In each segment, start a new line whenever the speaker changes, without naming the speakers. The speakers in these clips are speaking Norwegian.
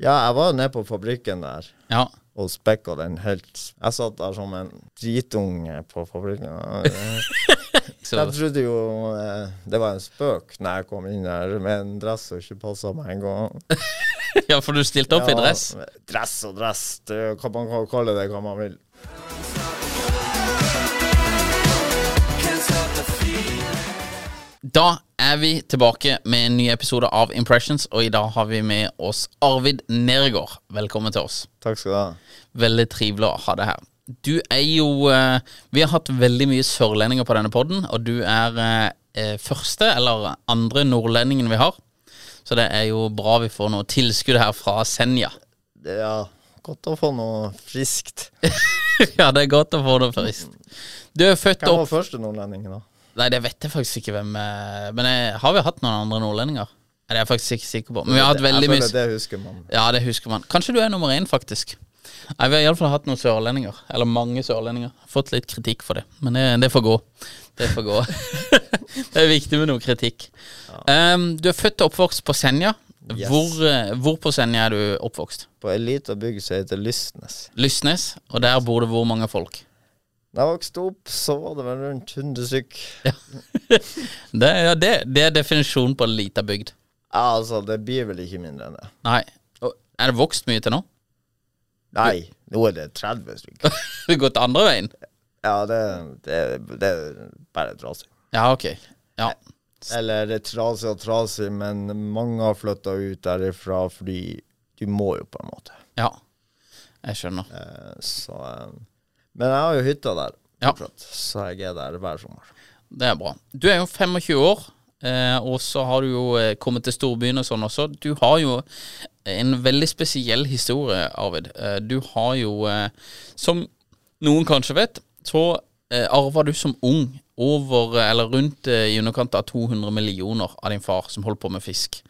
Ja, jeg var jo nede på fabrikken der
Ja.
og spekka den helt Jeg satt der som en dritunge på fabrikken.
Så,
Jeg trodde jo eh, det var en spøk når jeg kom inn der med en dress som ikke passa meg engang.
ja, for du stilte opp i dress?
Dress og dress, det, er jo hva man kan kalle det hva man vil.
Da er vi tilbake med en ny episode av Impressions, og i dag har vi med oss Arvid Nergård. Velkommen til oss.
Takk skal du ha.
Veldig trivelig å ha deg her. Du er jo eh, Vi har hatt veldig mye sørlendinger på denne podden, og du er eh, eh, første eller andre nordlendingen vi har. Så det er jo bra vi får noe tilskudd her fra Senja.
Det er ja, godt å få noe friskt.
ja, det er godt å få det først. Du er født
Hvem
opp
var første nordlending, da?
Nei, det vet jeg faktisk ikke hvem eh, Men jeg, har vi hatt noen andre nordlendinger? Nei, Det er jeg faktisk ikke sikker på. Men vi har hatt veldig
jeg
mye
føler det husker man.
Ja, det husker man. Kanskje du er nummer én, faktisk. Nei, Vi har iallfall hatt noen sørlendinger. Eller mange sørlendinger. Fått litt kritikk for det, men det, det får gå. Det får gå. det er viktig med noe kritikk. Ehm, du er født og oppvokst på Senja.
Yes.
Hvor, eh, hvor på Senja er du oppvokst?
På ei lita bygd som heter Lysnes.
Lysnes, og der bor det hvor mange folk?
Da jeg vokste opp, så var det vel rundt 100 stykk.
Det, er- ja, det, det er definisjonen på en lita bygd.
Ja, altså, det blir vel ikke mindre enn det.
Nei. Og Er det vokst mye til nå?
Nei, nå er det 30 stykk.
Det har gått andre veien?
Ja, det, det, det er bare trasig.
Ja, ok. Ja.
Eller det er trasig og trasig, men mange har flytta ut derifra fordi du må jo, på en måte.
ja. Jeg skjønner.
Eh, Så eh, Men jeg har jo hytta der,
Ja.
fortsatt, så jeg er der hver sommer.
Det er bra. Du er jo 25 år, eh, og så har du jo eh, kommet til storbyen og sånn også. Du har jo en veldig spesiell historie, Arvid. Eh, du har jo, eh, som noen kanskje vet, så eh, arva du som ung over, eh, eller rundt eh, i underkant av 200 millioner av din far som holdt på med fisk.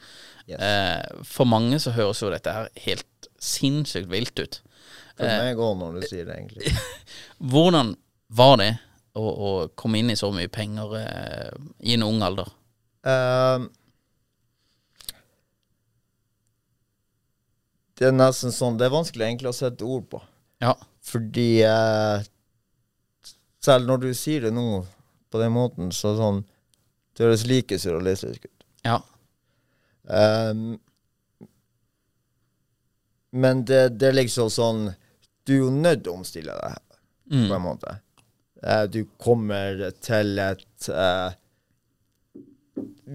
Yes.
Eh, for mange så høres jo dette her helt sinnssykt vilt ut.
For meg òg, når du sier det, egentlig.
Hvordan var det å, å komme inn i så mye penger eh, i en ung alder?
Eh, det er nesten sånn Det er vanskelig egentlig å sette ord på.
Ja.
Fordi eh, Selv når du sier det nå på den måten, så er det sånn Det høres like surrealistisk ut.
Ja.
Um, men det, det er liksom sånn Du er jo nødt til å omstille deg, på en måte. Eh, du kommer til et eh,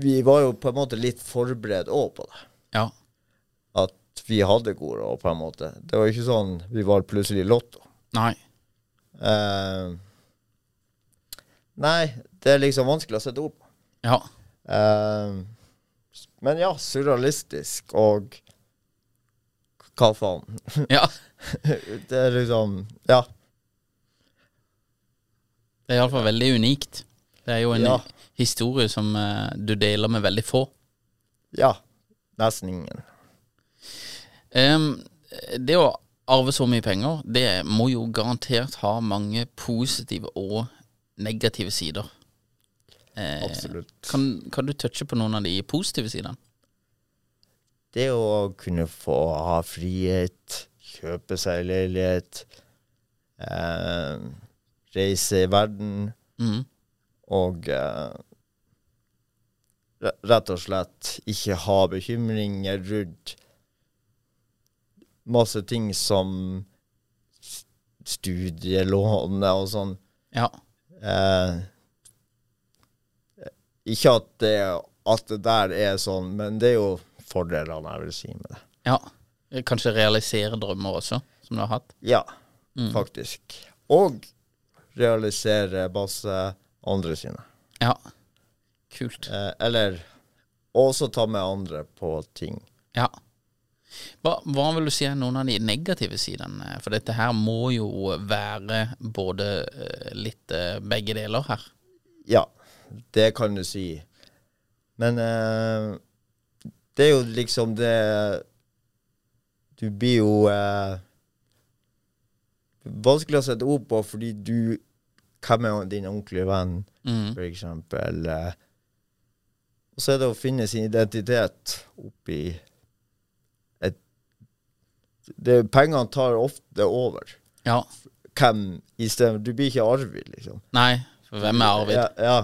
Vi var jo på en måte litt forberedt òg på det.
Ja.
At vi hadde god råd, på en måte. Det var jo ikke sånn vi var plutselig i Lotto.
Nei.
Eh, nei, det er liksom vanskelig å sette ord på.
Ja.
Eh, men ja, surrealistisk og hva faen.
ja.
det er liksom Ja.
Det er iallfall veldig unikt. Det er jo en
Ja.
historie som eh, du deler med veldig få.
ja. Nesten ingen.
Em, det å arve så mye penger, det må jo garantert ha mange positive og negative sider. Eh,
Absolutt.
kan, kan du touche på noen av de positive sidene?
Det å kunne få ha frihet, kjøpe seg leilighet, eh, reise i verden
Mm.
og eh, re- rett og slett ikke ha bekymringer rundt masse ting som s- studielån og sånn.
Ja.
Eh, ikke at det, at det der er sånn, men det er jo fordelene jeg vil si med det.
ja. Kanskje realisere drømmer også, som du har hatt?
Ja, faktisk. Og realisere masse andre sine.
Ja. Kult.
Eh, eller også ta med andre på ting.
Ja. Hva, hva vil du si er noen av de negative sidene? For dette her må jo være både eh, litt eh, begge deler her.
Ja, det kan du si. Men eh, det er jo liksom det Du blir jo eh, Vanskelig å sette ord på fordi du Hvem er din ordentlige venn,
Mm.
for eksempel? eh. Og så er det å finne sin identitet oppi et det, pengene tar ofte over.
Ja.
Hvem i stedet, Du blir ikke Arvid, liksom.
Nei, for hvem er Arvid?
Ja, ja.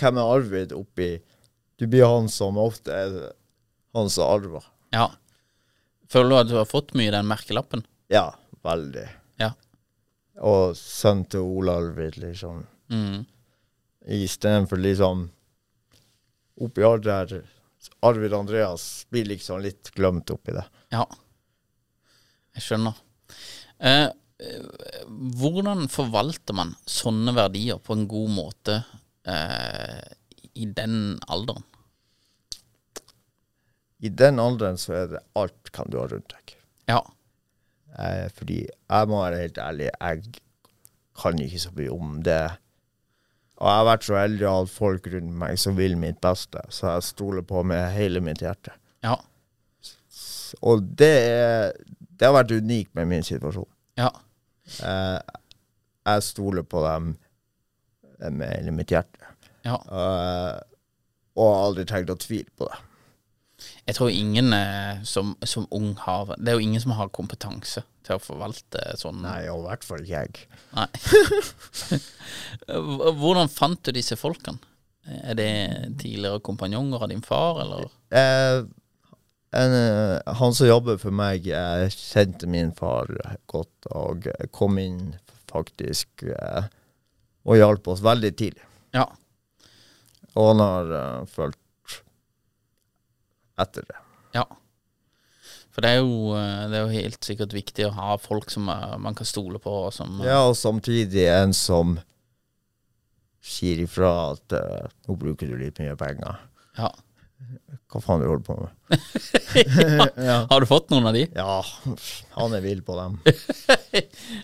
Hvem er Arvid oppi Du blir han som ofte er han som arver.
Ja. Føler du at du har fått mye i den merkelappen?
Ja, veldig.
Ja.
Og sønnen til Ole Arvid, liksom.
Mm.
Istedenfor liksom Oppi alt det her Arvid Andreas blir liksom litt glemt oppi det.
Ja. Jeg skjønner. Eh, eh, hvordan forvalter man sånne verdier på en god måte eh, i den alderen?
I den alderen så er det alt kan du ha rundt deg.
Ja.
Eh, fordi jeg må være helt ærlig, jeg kan ikke så mye om det. Og jeg har vært så heldig å ha hatt folk rundt meg som vil mitt beste, så jeg stoler på med hele mitt hjerte.
Ja.
Og det, er, det har vært unikt med min situasjon.
Ja.
Eh, jeg stoler på dem eh, med hele mitt hjerte.
ja.
Eh, og har aldri tenkt å tvile på det.
Jeg tror ingen eh, som, som ung har Det er jo ingen som har kompetanse til å forvalte sånn.
Nei, og i hvert fall ikke jeg.
Nei. H- Hvordan fant du disse folkene? Er det tidligere kompanjonger av din far, eller?
Eh, en, eh, han som jobber for meg, eh, kjente min far godt og eh, kom inn faktisk eh, og hjalp oss veldig tidlig.
Ja.
Og han har eh, fulgt etter det.
Ja. For det er, jo, eh, det er jo helt sikkert viktig å ha folk som eh, man kan stole på, og som eh,
Ja, og samtidig en som sier ifra at eh, nå bruker du litt mye penger.
ja.
Hva faen du holder på med?
Har du fått noen av de?
Ja, han er vill på dem.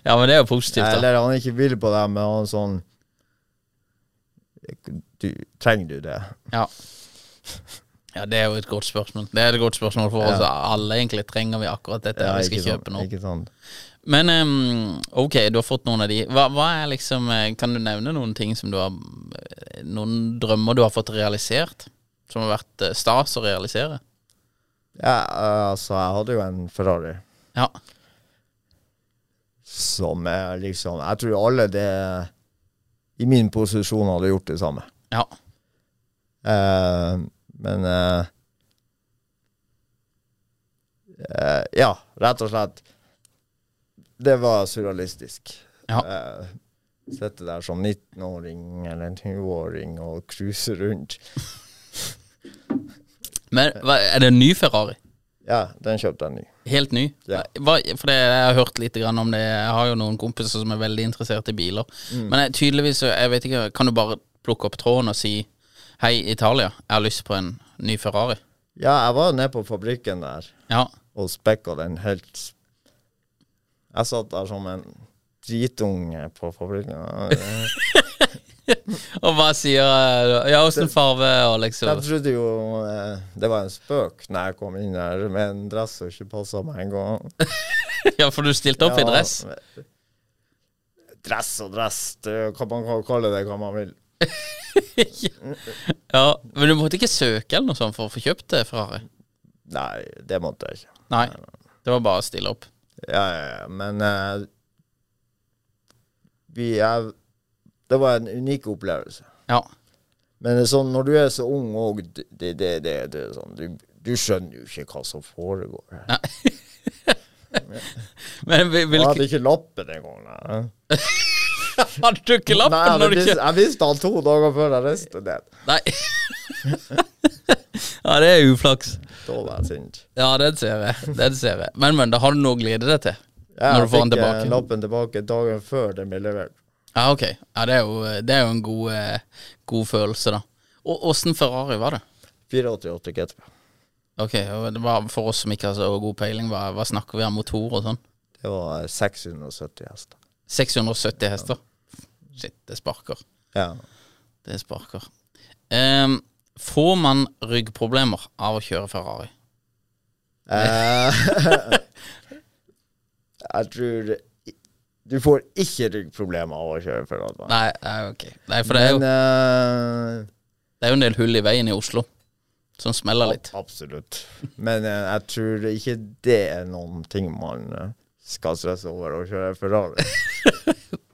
Ja, men det er jo positivt, da.
Eller han er ikke vill på dem, men han er sånn du, Trenger du det?
Ja. ja, det er jo et godt spørsmål. Det er et godt spørsmål for oss alle, egentlig. Trenger vi akkurat dette?
Ja,
vi skal
ikke sant,
kjøpe noe.
Ikke sånn sant.
Men em, ok, du har fått noen av de. Hva, hva er liksom eh, Kan du nevne noen ting som du har eh, Noen drømmer du har fått realisert? Som har vært eh, stas å realisere?
Ja, eh, altså, jeg hadde jo en Ferrari
Ja.
som er liksom Jeg tror alle det i min posisjon hadde gjort det samme.
Ja.
Eh, men eh, eh, Ja, rett og slett. Det var surrealistisk.
Ja.
Eh, Sitte der som 19-åring eller en 20-åring og cruise rundt.
Men hva, er det en ny Ferrari?
Ja, den kjøpte jeg ny.
Helt ny?
Ja.
Hva, for det, jeg har hørt litt grann om det. Jeg har jo noen kompiser som er veldig interessert i biler.
Mm.
Men jeg, tydeligvis, så- jeg vet ikke Kan du bare plukke opp tråden og si Hei, Italia, jeg har lyst på en ny Ferrari?
Ja, jeg var nede på fabrikken der
Ja.
og spekka den helt s- Jeg satt der som en dritunge på fabrikken. Jeg
Og hva sier eh, Ja, åssen farve og liksom
trodde jo eh, det var en spøk når jeg kom inn her med en dress som ikke passa meg engang.
Ja, for du stilte opp i dress?
Dress og dress, det, kan man kan kalle det hva man vil.
Ja, men du måtte ikke søke eller noe sånt for å få kjøpt det Ferrari?
Nei, det måtte jeg ikke.
Nei, det var bare å stille opp.
Ja, ja, ja, men eh, vi er Det var en unik opplevelse.
Ja,
Men det er sånn, når du er så ung og det, det, det, det, det er sånn, du, du skjønner jo ikke hva som foregår. her.
men hvil-
Jeg
hvilke
hadde ikke lappen engang. nei.
Hadde du ikke
Nei, jeg,
lappen
hadde
når du
visst- jeg
kjøpte?
visste han to dager før jeg reiste ned.
Nei. ja, det er uflaks.
Da var jeg sint.
Ja, den ser jeg. Den ser jeg. Men, men, da har du noe å glede deg til.
Jeg
Når du får han
fikk, eh,
tilbake.
lappen tilbake dagen før den ble levert.
Ja, ok. Ja, det er jo, det er jo en god, eh, god følelse, da. Og åssen Ferrari var det?
488 GTP.
Ok, og det var For oss som ikke har så god peiling, hva, hva snakker vi om motor og sånn?
Det var eh, 670 hester.
670 hester? Shit, det sparker.
Ja.
Det sparker. Ehm, får man ryggproblemer av å kjøre Ferrari?
Eh, jeg tror Du får ikke ryggproblemer av å kjøre Ferrari.
Nei, nei ok. Nei, for det er, jo,
Men eh,
det er jo en del hull i veien i Oslo. som smeller litt.
Absolutt. Men eh, jeg tror ikke det er noen ting man eh, skal stresse over å kjøre Ferrari.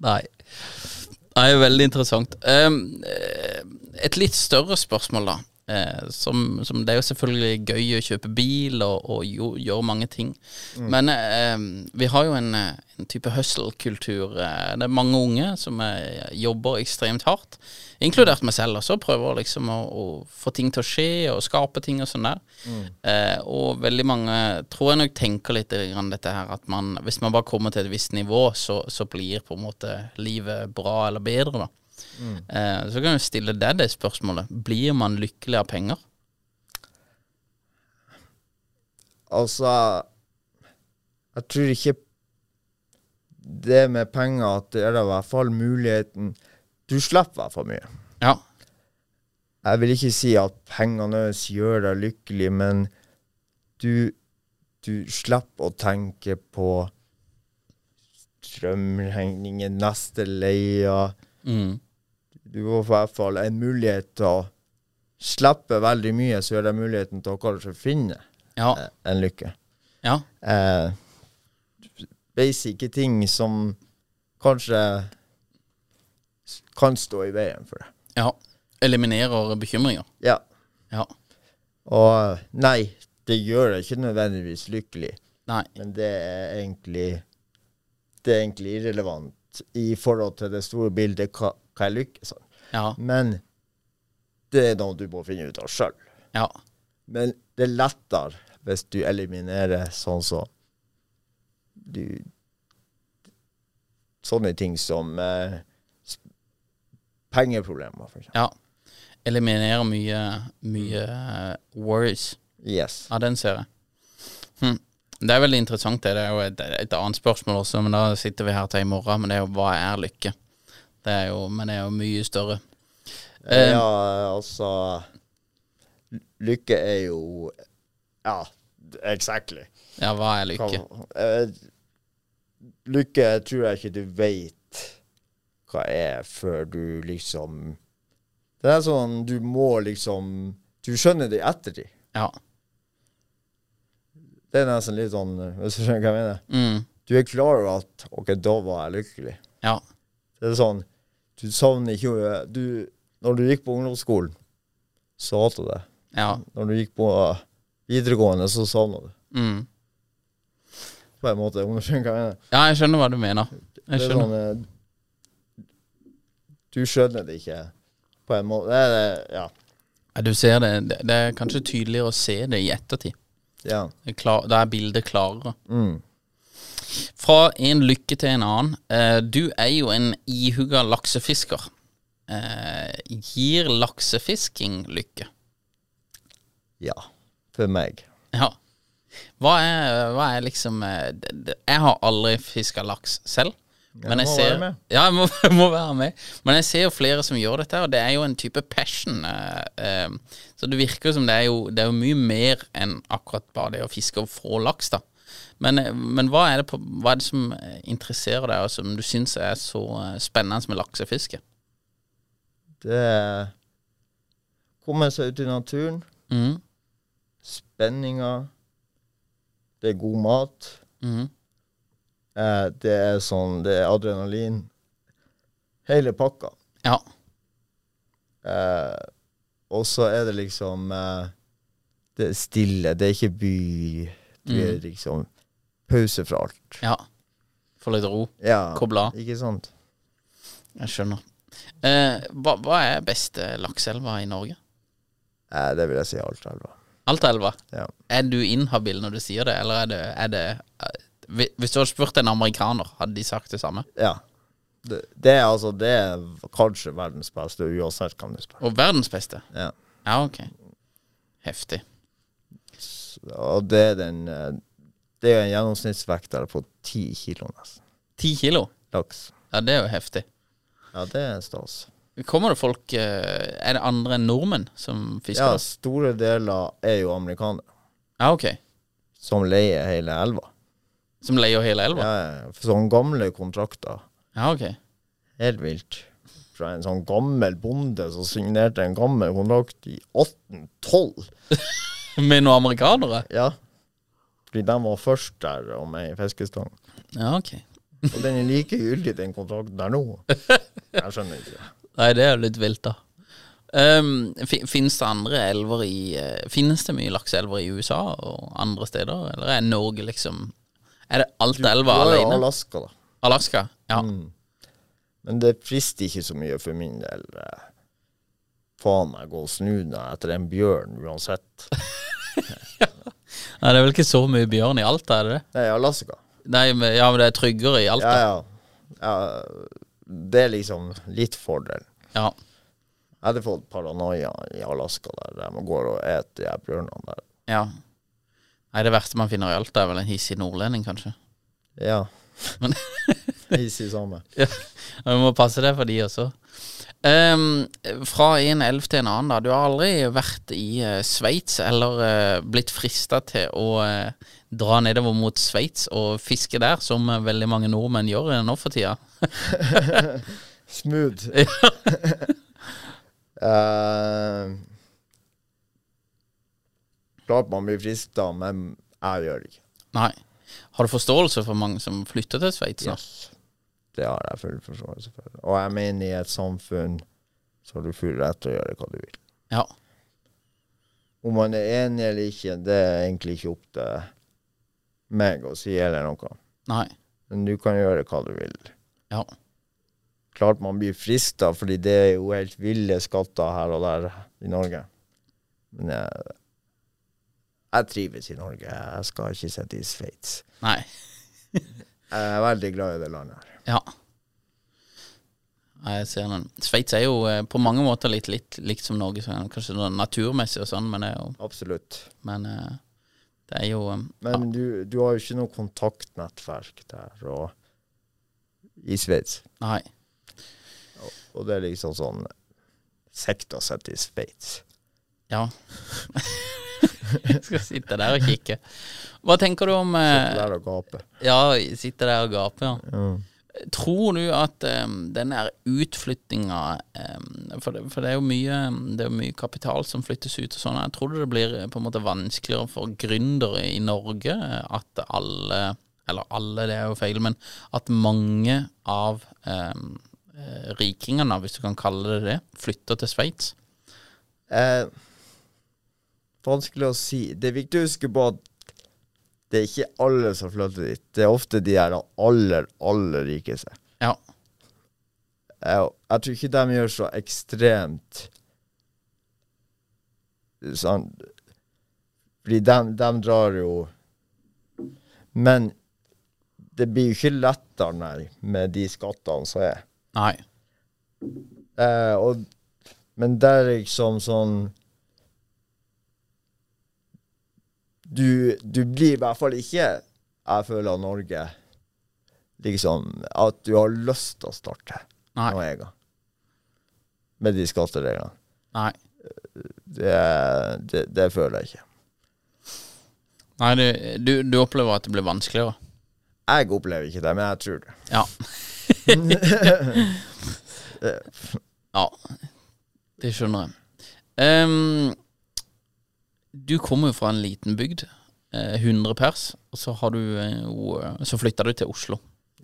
Nei. Det er veldig interessant. Ehm, eh, et litt større spørsmål, da. Eh, som, som det er jo selvfølgelig gøy å kjøpe bil og, og jo, gjøre mange ting. Men eh, ehm, vi har jo en, eh, en type hustle-kultur. eh, Det er mange unge som eh, jobber ekstremt hardt, inkludert meg selv også, prøver liksom å, å få ting til å skje og skape ting og sånn der. Eh, og veldig mange tror jeg nok tenker litt grann dette her at man, hvis man bare kommer til et visst nivå, så, så blir på en måte livet bra eller bedre, da. Eh, så kan du stille deg det spørsmålet. Blir man lykkelig av penger?
Altså Jeg tror ikke det med penger at det er i hvert fall muligheten Du slipper i hvert fall mye.
Ja.
jeg vil ikke si at pengene deres gjør deg lykkelig, men du, du slipper å tenke på strømregningen, neste leia.
Mm.
Du får i hvert fall en mulighet til å slippe veldig mye, så gjør det muligheten til å kanskje finne
Ja.
eh, en lykke.
ja.
Eh, basic ting som kanskje s- kan stå i veien for det.
Ja. Eliminerer bekymringer.
Ja.
Ja.
Og eh, nei, det gjør deg ikke nødvendigvis lykkelig,
Nei.
men det er egentlig Det er egentlig irrelevant i forhold til det store bildet hva, hva er lykke. sånn.
Ja.
Men det er noe du må finne ut av sjøl.
Ja.
Men det er lettere hvis du eliminerer sånn som du Sånne ting som eh, s- pengeproblemer, for eksempel.
ja. Eliminerer mye, mye eh, worries.
Yes.
Ja, den ser jeg. Hm. Det er veldig interessant. Det Det er jo et, et annet spørsmål også, men da sitter vi her til i morgen. Men det er jo hva er lykke? Det er jo, men det er jo mye større. Eh,
ja, altså Lykke er jo Ja, exactly.
Ja, hva er
Hva-
lykke?
eh, lykke tror jeg ikke du veit hva er før du liksom Det er sånn du må liksom Du skjønner det i ettertid.
Ja.
Det er nesten litt sånn Hvis du skjønner hva jeg mener.
Mm.
Du er klar over at OK, da var jeg lykkelig.
Ja.
Det er sånn Du savner ikke du, Når du gikk på ungdomsskolen, så hatet du det.
Ja.
når du gikk på uh, videregående, så savna du.
Mm.
På en måte, om du skjønner hva jeg mener.
ja, jeg skjønner hva du mener.
Det
Jeg
er
skjønner.
sånn, eh, du skjønner det ikke, på en måte. Det er det, ja.
Ja, du ser det. det. Det er kanskje tydeligere å se det i ettertid.
ja.
Det er klar- Da er bildet klarere.
Mm.
Fra en lykke til en annen. Eh, Du er jo en ihuga laksefisker. Eh, Gir laksefisking lykke?
ja. For meg.
Ja. Hva er, hva er liksom eh, det- det- Jeg har aldri fiska laks selv. Men jeg
må
ser,
være med.
Ja, jeg må, jeg må være med. Men jeg ser jo flere som gjør dette, og det er jo en type passion. eh, eh, så det virker som det er jo, det er jo mye mer enn akkurat bare det å fiske og få laks, da. Men, eh, men hva, er det på, hva er det som eh, interesserer deg, og som du syns er så eh, spennende med laksefiske?
Det er komme seg ut i naturen,
Mhm,
spenninga, det er god mat,
mhm.
eh, det er sånn, det er adrenalin. Hele pakka.
Ja.
Eh, og så er det liksom eh, Det er stille, det er ikke by. Du er liksom pause fra alt.
ja. Få litt ro.
Ja,
Koble av.
ikke sant?
Jeg skjønner. Eh, hva, hva er beste lakseelva i Norge?
Eh, det vil jeg si alt, Alva.
Altaelva?
Ja.
Er du inhabil når du sier det, eller er det, er det eh, hvi- Hvis du hadde spurt en amerikaner, hadde de sagt det samme?
ja. Det, det er altså Det er kanskje verdens beste, uansett hvem du spør.
Og verdens beste?
Ja.
Ja, ok. Heftig.
Så- Og det er den eh, Det er en gjennomsnittsvekt der på ti kilo, nesten.
Ti kilo?
Laks.
Ja, det er jo heftig.
Ja, det er stas.
Kommer det folk eh, Er det andre enn nordmenn som
Ja,
fisker? da?
store deler er jo amerikanere,
ja ok.
som leier hele elva.
Som leier hele elva?
Ja, ja, sånne gamle kontrakter.
Ja, ok.
Helt vilt. fra en sånn gammel bonde som signerte en gammel kontrakt i 1812.
Med noen amerikanere?
Ja. Fordi de var først der og med i fiskestang.
Ja, ok.
Og den er like gyldig, den kontrakten der nå. Jeg skjønner ikke.
Nei, det er jo litt vilt, da. Um, fi- finnes det andre elver i eh, Finnes det mye lakseelver i USA og andre steder, eller er Norge liksom Er det
Du
Altaelva
har jo
alene?
Alaska, da.
Alaska? Ja.
Mm. Men det frister ikke så mye for min del. eh, Faen meg gå og snu deg etter en bjørn uansett.
Nei, det er vel ikke så mye bjørn i Alta, er det det?
Nei, Alaska.
Nei, men, ja, men det er tryggere i
Ja,
Alta.
ja. ja det er liksom litt fordel.
Ja.
Jeg hadde fått paranoia i Alaska der de går og eter de her bjørnene der.
ja. Nei, det verste man finner i Alta, er vel en hissig nordlending, kanskje.
Ja.
Men-
Vi sier samme.
Ja, og vi må passe det for de også. Ehm, fra en elv til en annen, da. Du har aldri vært i uh, Sveits eller eh, blitt frista til å eh, dra nedover mot Sveits og fiske der, som eh, veldig mange nordmenn gjør eh, nå for tida?
Smooth. Eh, klart man blir frista, men jeg gjør det ikke.
Nei. Har du forståelse for mange som flytter til Sveits? nå?
Yes. Det har jeg full forståelse for. Og jeg mener, i et samfunn så har du full rett til å gjøre hva du vil.
Ja.
Om man er enig eller ikke, det er egentlig ikke opp til meg å si eller noe.
Nei.
Men du kan gjøre hva du vil.
Ja.
Klart man blir frista, fordi det er jo helt ville skatter her og der i Norge. Men jeg, jeg trives i Norge. Jeg skal ikke sitte i Sveits.
Nei.
Jeg er veldig glad i det landet her.
Ja. Nei, Jeg ser den. Sveits er jo eh, på mange måter litt, litt likt som Norge, sånn, kanskje sånn naturmessig og sånn, men det er jo
Absolutt.
Men eh, det er jo eh,
Men du, du har jo ikke noe kontaktnettverk der og i Sveits.
Nei.
Og det er liksom sånn sekta sett i Sveits.
Ja. Jeg skal sitte der og kikke. Hva tenker du om eh,
Der og gape.
Ja, sitte der og gape, ja.
Ja.
Tror du at um, den her utflyttinga em, for, det, for det er jo mye Det er jo mye kapital som flyttes ut og sånn. Jeg Tror du det blir eh, på en måte vanskeligere for gründere i Norge eh, at alle Eller alle, det er jo feil, men at mange av em, eh, rikingene, hvis du kan kalle det det, flytter til Sveits?
Eh, vanskelig å si. Det er viktig å huske på at det er ikke alle som flytter dit. Det er ofte de her aller, aller rikeste.
Ja.
Jeg, jeg tror ikke de gjør så ekstremt sånn Fordi de, drar jo Men det blir jo ikke lettere, nei, med de skattene som er.
Nei.
Eh, og, men det er liksom sånn du, du blir i hvert fall ikke Jeg føler at Norge Liksom At du har lyst til å starte
Nei.
noe eget. Med de skattereglene.
Nei.
Det, det, det føler jeg ikke.
Nei, du, du, du opplever at det blir vanskeligere?
Jeg opplever ikke det, men jeg tror det.
Ja. ja. Det skjønner jeg. Ehm, du kommer jo fra en liten bygd, eh, 100 pers, og så, har du, eh, jo, eh, så flytta du til Oslo.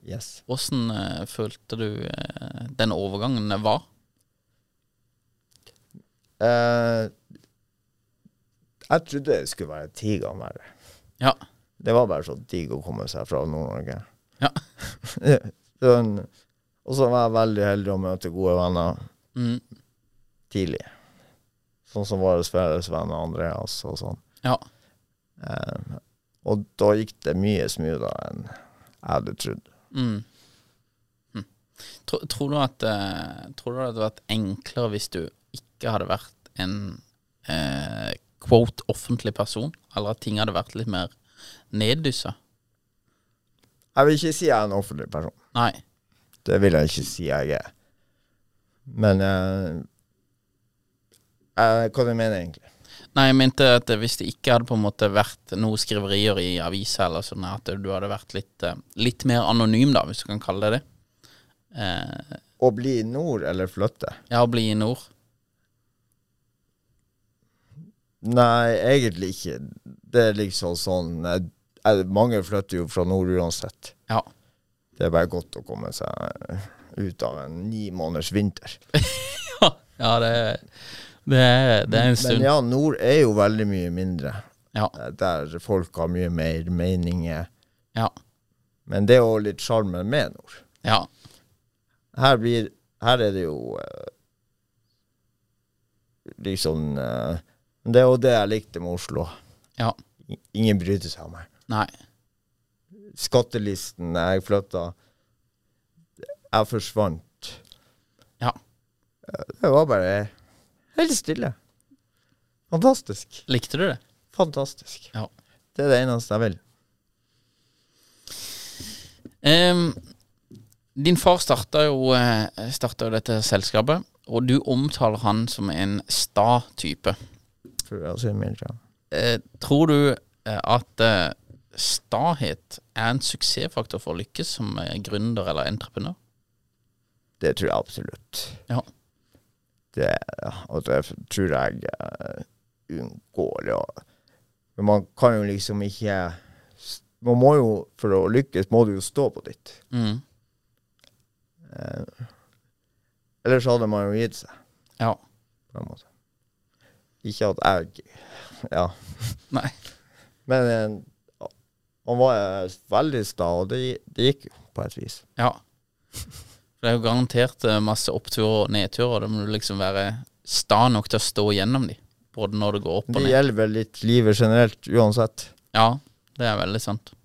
Yes.
Åssen eh, følte du eh, den overgangen var?
Eh, jeg trodde det skulle være ti ganger verre.
Ja.
Det var bare sånn så digg å komme seg fra Nord-Norge.
Ja.
sånn. Og så var jeg veldig heldig å møte gode venner
Mm,
tidlig. Sånn som våre felles venner Andreas og sånn.
ja.
Eh, og da gikk det mye smoothere enn jeg hadde trodd.
Mm. Hm. Tro, tror, du at, eh, tror du det hadde vært enklere hvis du ikke hadde vært en eh, quote offentlig person? Eller at ting hadde vært litt mer neddyssa?
Jeg vil ikke si jeg er en offentlig person.
Nei.
Det vil jeg ikke si jeg er. Men eh, eh, Hva du mener egentlig?
Nei, jeg mente at hvis det ikke hadde på en måte vært noe skriverier i avisa, eller sånn at du hadde vært litt, eh, litt mer anonym, da, hvis du kan kalle det det. Eh,
Å bli i nord eller flytte?
Ja, å bli i nord.
Nei, egentlig ikke. Det er liksom sånn eh, eh, Mange flytter jo fra nord uansett.
Ja.
Det er bare godt å komme seg ut av en ni måneders vinter.
ja, det, det, er- det er en
Men
stund.
ja, nord er jo veldig mye mindre,
Ja.
eh, der folk har mye mer meninger.
Ja.
Men det er jo litt sjarmen med nord.
ja.
Her, blir, her er det jo eh, liksom eh, Det er jo det jeg likte med Oslo.
Ja.
I- Ingen brydde seg om meg.
Nei.
skattelisten da jeg flytta. Jeg forsvant. Eh,
Ja.
Det var bare helt stille. Fantastisk.
Likte du det?
Fantastisk.
Ja.
Det er det eneste jeg vil.
Ehm, din far starta jo, eh, starta jo dette selskapet, og du omtaler han som en sta type.
For å si det mildt. ja.
Eh, tror du eh, at eh, stahet er en suksessfaktor for å lykkes som eh, gründer eller entreprenør?
Det tror jeg absolutt.
Ja.
Det, og det tror jeg er uunngåelig. og- Men man kan jo liksom ikke Man må jo, for å lykkes, må du jo stå på ditt.
Mm.
Eh, ellers hadde man jo gitt seg.
Ja.
på en måte. Ikke at jeg Ja.
Nei.
Men eh, han var eh, veldig sta, og det, gi- det gikk jo på et vis.
ja. For det er jo garantert eh, masse oppturer og nedturer, og da må du liksom være sta nok til å stå gjennom de, både når det går opp og
Men
ned.
det gjelder vel litt livet generelt, uansett.
Ja, det er veldig sant.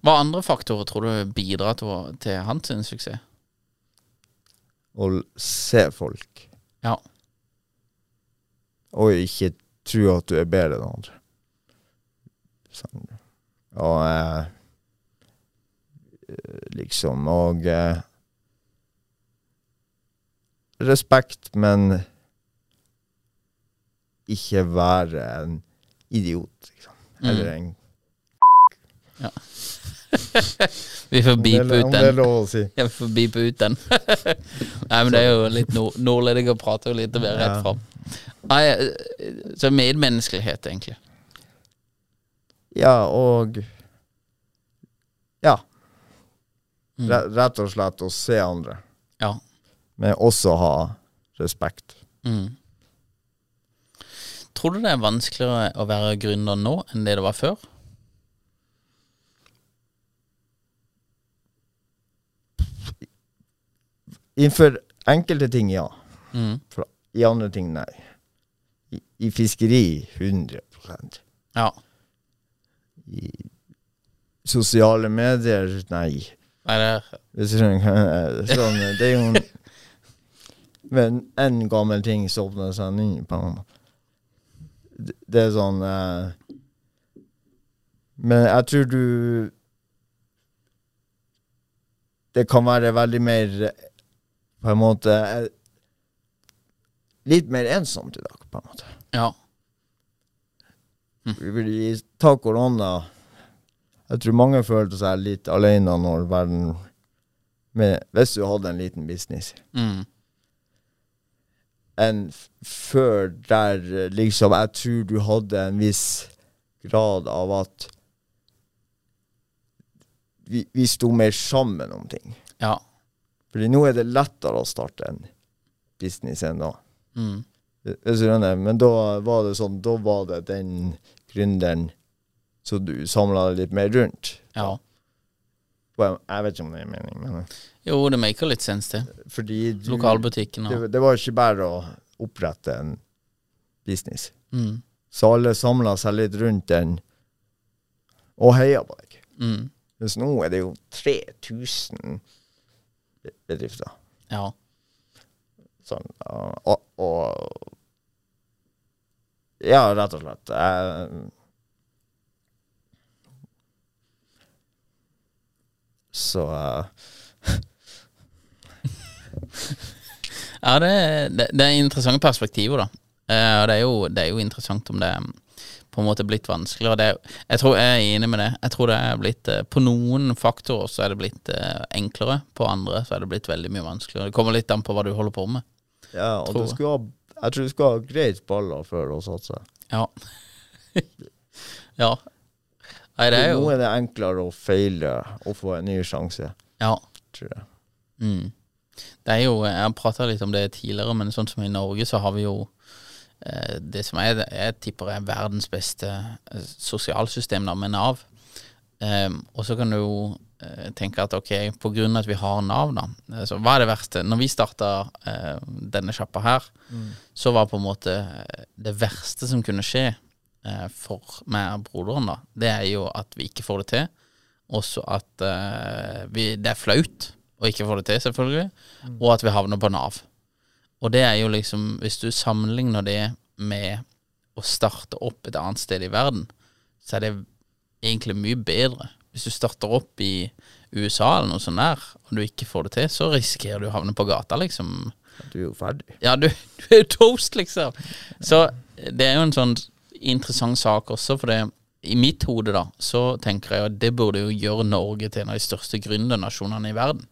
Hva andre faktorer tror du bidrar til, å- til hans suksess?
Å l- se folk,
Ja.
og ikke tro at du er bedre enn andre. Sånn. Og eh, liksom Og eh, Respekt, men ikke være en idiot, liksom. Eller
Mm.
en
Vi får
Om
beepe
det-
ut
Om det er
den.
lov å si.
Jeg får beepe ut den. Nei, men det er jo litt nord nordlendinger prater jo litt mer rett
Ja.
fram. Nei, eh, så medmenneskelighet, egentlig.
Ja, og Ja.
Mm.
Re- Rett og slett å se andre.
Ja.
Men også ha respekt.
Mm. Tror du det er vanskeligere å være gründer nå enn det det var før?
Innenfor enkelte ting, ja.
Mm.
I andre ting, nei. I, i fiskeri 100
Ja.
I sosiale medier, nei.
Nei, det er
Hvis du skjønner hva jeg- sånn, Det er jo en Men en gammel ting som åpner seg ny på en måte. Det- Det er sånn eh, Men jeg tror du Det kan være veldig mer eh, På en måte eh, Litt mer ensomt i dag, på en måte.
Ja.
Fordi Ta korona. Jeg tror mange følte seg litt alene når verden med, Hvis du hadde en liten business
Mm.
enn f- før der eh, liksom Jeg tror du hadde en viss grad av at vi, vi sto mer sammen om ting.
Ja.
Fordi nå er det lettere å starte en business enn da.
Mm.
Hvis du skjønner. Men da var det sånn, da var det den gründeren som du samla deg litt mer rundt.
ja.
Well, jeg vet ikke om det er mening, men
Jo, det maker litt sens, det.
fordi du,
Lokalbutikken og
Mm. det, det var ikke bare å opprette en business.
mm.
Så alle samla seg litt rundt den og heia på deg.
Mm.
Mens nå er det jo 3000 be- bedrifter.
Ja.
Sånn, og, og- og Ja, rett og slett. eh, Jeg, så eh,
Ja, det, det, det er interessante perspektiver, da. Eh, Og det er, jo, det er jo interessant om det på en måte blitt vanskeligere. Det, er- jeg tror jeg er enig med det. Jeg tror det er blitt eh, På noen faktorer så er det blitt eh, enklere, på andre så er det blitt veldig mye vanskeligere. Det kommer litt an på hva du holder på med.
Ja, og
Tror
du
jeg.
skulle ha, jeg tror du skal ha greit baller for å satse.
Ja. ja. Nei, det er jo
Nå er det enklere å feile og få en ny sjanse,
Ja.
tror jeg.
Mm. Det er jo, jeg har prata litt om det tidligere, men sånn som i Norge, så har vi jo eh, det som er, jeg tipper er verdens beste eh, sosialsystem, da, med Nav. Em, og så kan du jo eh, tenke at ok, på grunn av at vi har Nav, da eh, så Hva er det verste? Når vi starta eh, denne sjappa her, så var på en måte eh, det verste som kunne skje eh, for meg og broderen, da, det er jo at vi ikke får det til. Også at eh, vi, det er flaut å ikke få det til, selvfølgelig, og at vi havner på Nav. Og det er jo liksom, hvis du sammenligner det med å starte opp et annet sted i verden, så er det egentlig mye bedre. Hvis du starter opp i USA eller noe sånt der, og du ikke får det til, så risikerer du å havne på gata, liksom.
Du er jo ferdig.
Ja, du, du er toast, liksom. Så det er jo en sånn interessant sak også, for det i mitt hode da, så tenker jeg at det burde jo gjøre Norge til en av de største gründernasjonene i verden.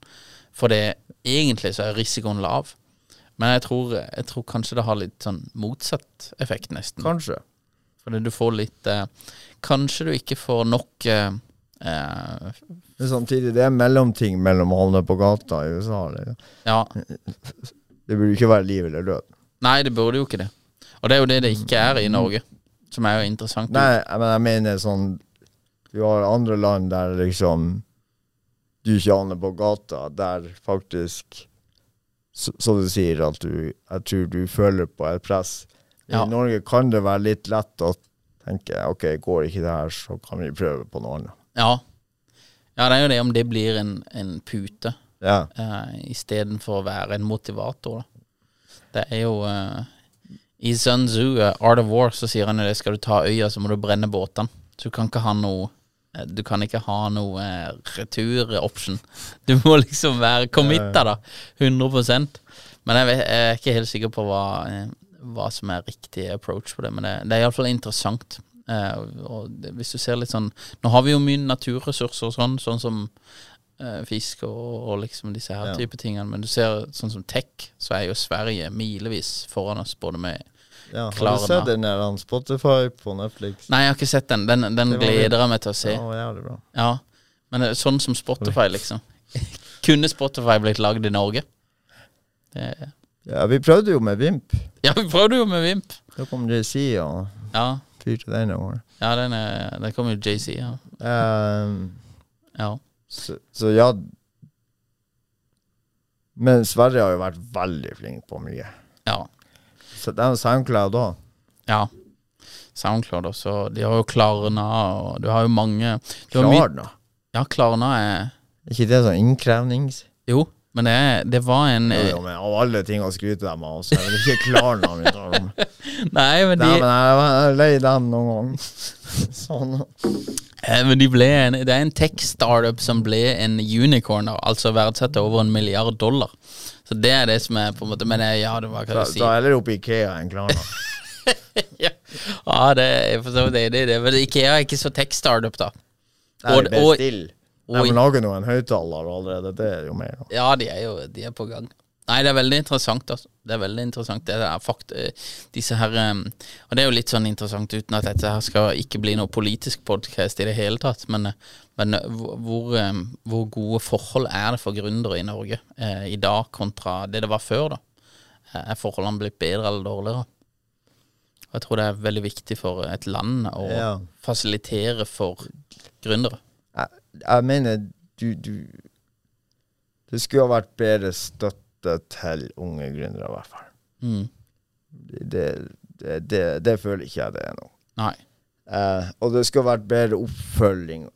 For det, egentlig så er risikoen lav. Men jeg tror, jeg tror kanskje det har litt sånn motsatt effekt, nesten.
Kanskje.
Fordi du får litt eh, Kanskje du ikke får nok eh, eh,
Men samtidig, det er mellomting mellom å havne på gata i USA. eller?
Ja,
Det burde ikke være liv eller død.
nei, det burde jo ikke det. Og det er jo det det ikke er i Norge, som er jo interessant.
Nei, jeg men jeg mener sånn Du har andre land der liksom du ikke aner på gata, der faktisk så, så du sier at du Jeg tror du føler på et press.
Ja.
I Norge kan det være litt lett å tenke OK, går ikke det her, så kan vi prøve på noe annet.
Ja. ja, det er jo det om det blir en, en pute
Ja.
eh, istedenfor å være en motivator. Da. Det er jo eh, I Sun Tzu, eh, Art of War, så sier han jo det skal du ta øya, så må du brenne båtene. Så du kan ikke ha noe eh, du kan ikke ha noe eh, retur-option. Du må liksom være committa, da. 100 Men jeg, vet, jeg er ikke helt sikker på hva, eh, hva som er riktig approach på det. Men det, det er iallfall interessant. Eh, og det, hvis du ser litt sånn Nå har vi jo mye naturressurser og sånn, sånn som eh, fisk og, og liksom disse her
Ja.
type tingene. Men du ser sånn som tech, så er jo Sverige milevis foran oss både med
ja. Har
Klarna.
du sett den der han Spotify på Netflix?
Nei, jeg har ikke sett den. Den, den
Det var litt-
gleder jeg meg til å se.
Det var jævlig bra.
Ja, men det er sånn som Spotify, liksom. Kunne Spotify blitt lagd i Norge? Det,
Ja, vi prøvde jo med Vimp.
ja, vi prøvde jo med Vimp.
Da kom JC og
Ja,
fyrte den over.
ja den, er, den kom jo JC, ja.
Um,
ja.
Så, så ja Men Sverige har jo vært veldig flink på mye.
Ja.
Så det er jo SoundCloud òg.
ja. Soundcloud også. De har jo Klarna, og du har jo mange du har mye-
Klarna.
Ja, Klarna er
Er ikke det sånn innkrevnings...
Jo, men det, er, det var en
Jo, jo, men av alle ting å skryte dem av, så er det ikke Klarna vi tar om. Nei,
Nei, men de,
men jeg er lei dem noen gang. Sånn.
Eh, Men de ble en, det er en tech-startup som ble en unicorn, da, altså verdsatt til over en milliard dollar. Så det er det som er på en måte Men eh, ja, det var
Da,
hva du
da
sier.
er det oppe i Ikea enn Klarna.
Ja, Ja, Ah, det er for så vidt enig i det. Men Ikea er ikke så tech-startup, da.
Nei,
Og- og-
bestill.
og-
De lager nå en høyttaler allerede, det er jo mer. da.
Ja, de er jo de er på gang. Nei, det er veldig interessant. Altså. Det er veldig interessant Det er fakt eh, Disse her eh, Og det er jo litt sånn interessant uten at dette her skal ikke bli noe politisk podkast i det hele tatt, men, eh, men eh, hvor, hvor, eh, hvor gode forhold er det for gründere i Norge eh, i dag kontra det det var før, da? Eh, Er forholdene blitt bedre eller dårligere? Og jeg tror det er veldig viktig for et land å
Ja.
fasilitere for gründere.
jeg, jeg mener du, du Det skulle ha vært bedre støtte til unge gründere, i hvert fall.
Mm.
Det, det, det, det føler ikke jeg det er nå.
Nei.
Eh, og det skulle ha vært bedre oppfølging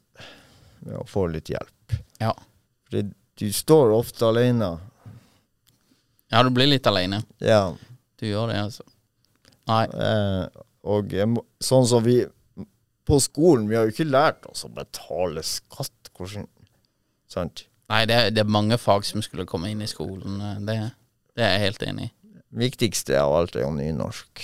med å få litt hjelp.
Ja.
Fordi du står ofte alene.
ja, du blir litt aleine.
Ja.
Du gjør det, altså. Nei.
eh, og jeg må- sånn som vi på skolen Vi har jo ikke lært oss å betale skatt. Hvordan Sant?
Nei, det er, det er mange fag som skulle komme inn i skolen. eh, Det, det er jeg helt enig i.
Viktigste av alt er jo nynorsk.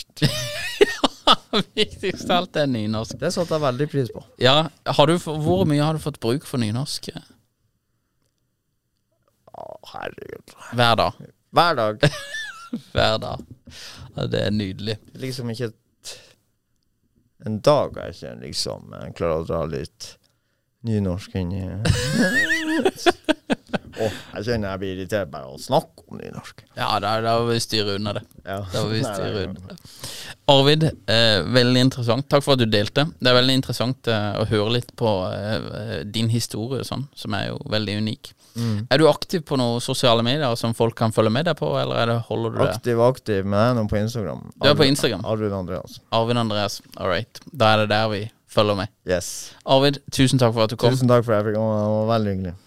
Viktigst av alt er nynorsk.
Det satte jeg veldig pris på.
Ja, har du, f- Hvor mye har du fått bruk for nynorsk eh,
Å, herregud.
hver dag?
Hver dag.
Hver dag. Ja, det er nydelig.
Liksom ikke et, en dag jeg ikke liksom eh, klarer å dra litt nynorsk inn i Åh, jeg kjenner jeg blir irritert bare av å snakke om nynorsk.
Ja, da, da må vi styre unna det.
Ja.
Da må vi
Nei,
styre
det er-
unna det. Arvid, eh, veldig interessant. Takk for at du delte. Det er veldig interessant eh, å høre litt på eh, din historie, og sånn, som er jo veldig unik.
Mm.
Er du aktiv på noen sosiale medier som folk kan følge med deg på, eller er det, holder du det?
Aktiv og aktiv, men jeg er nå på Instagram.
Du er på
Arvid-
Instagram.
Arvid Andreas.
Arvid Andreas, all right. Da er det der vi følger med.
Yes.
Arvid, tusen takk for at du kom.
Tusen takk for at jeg fikk komme. Det var veldig hyggelig.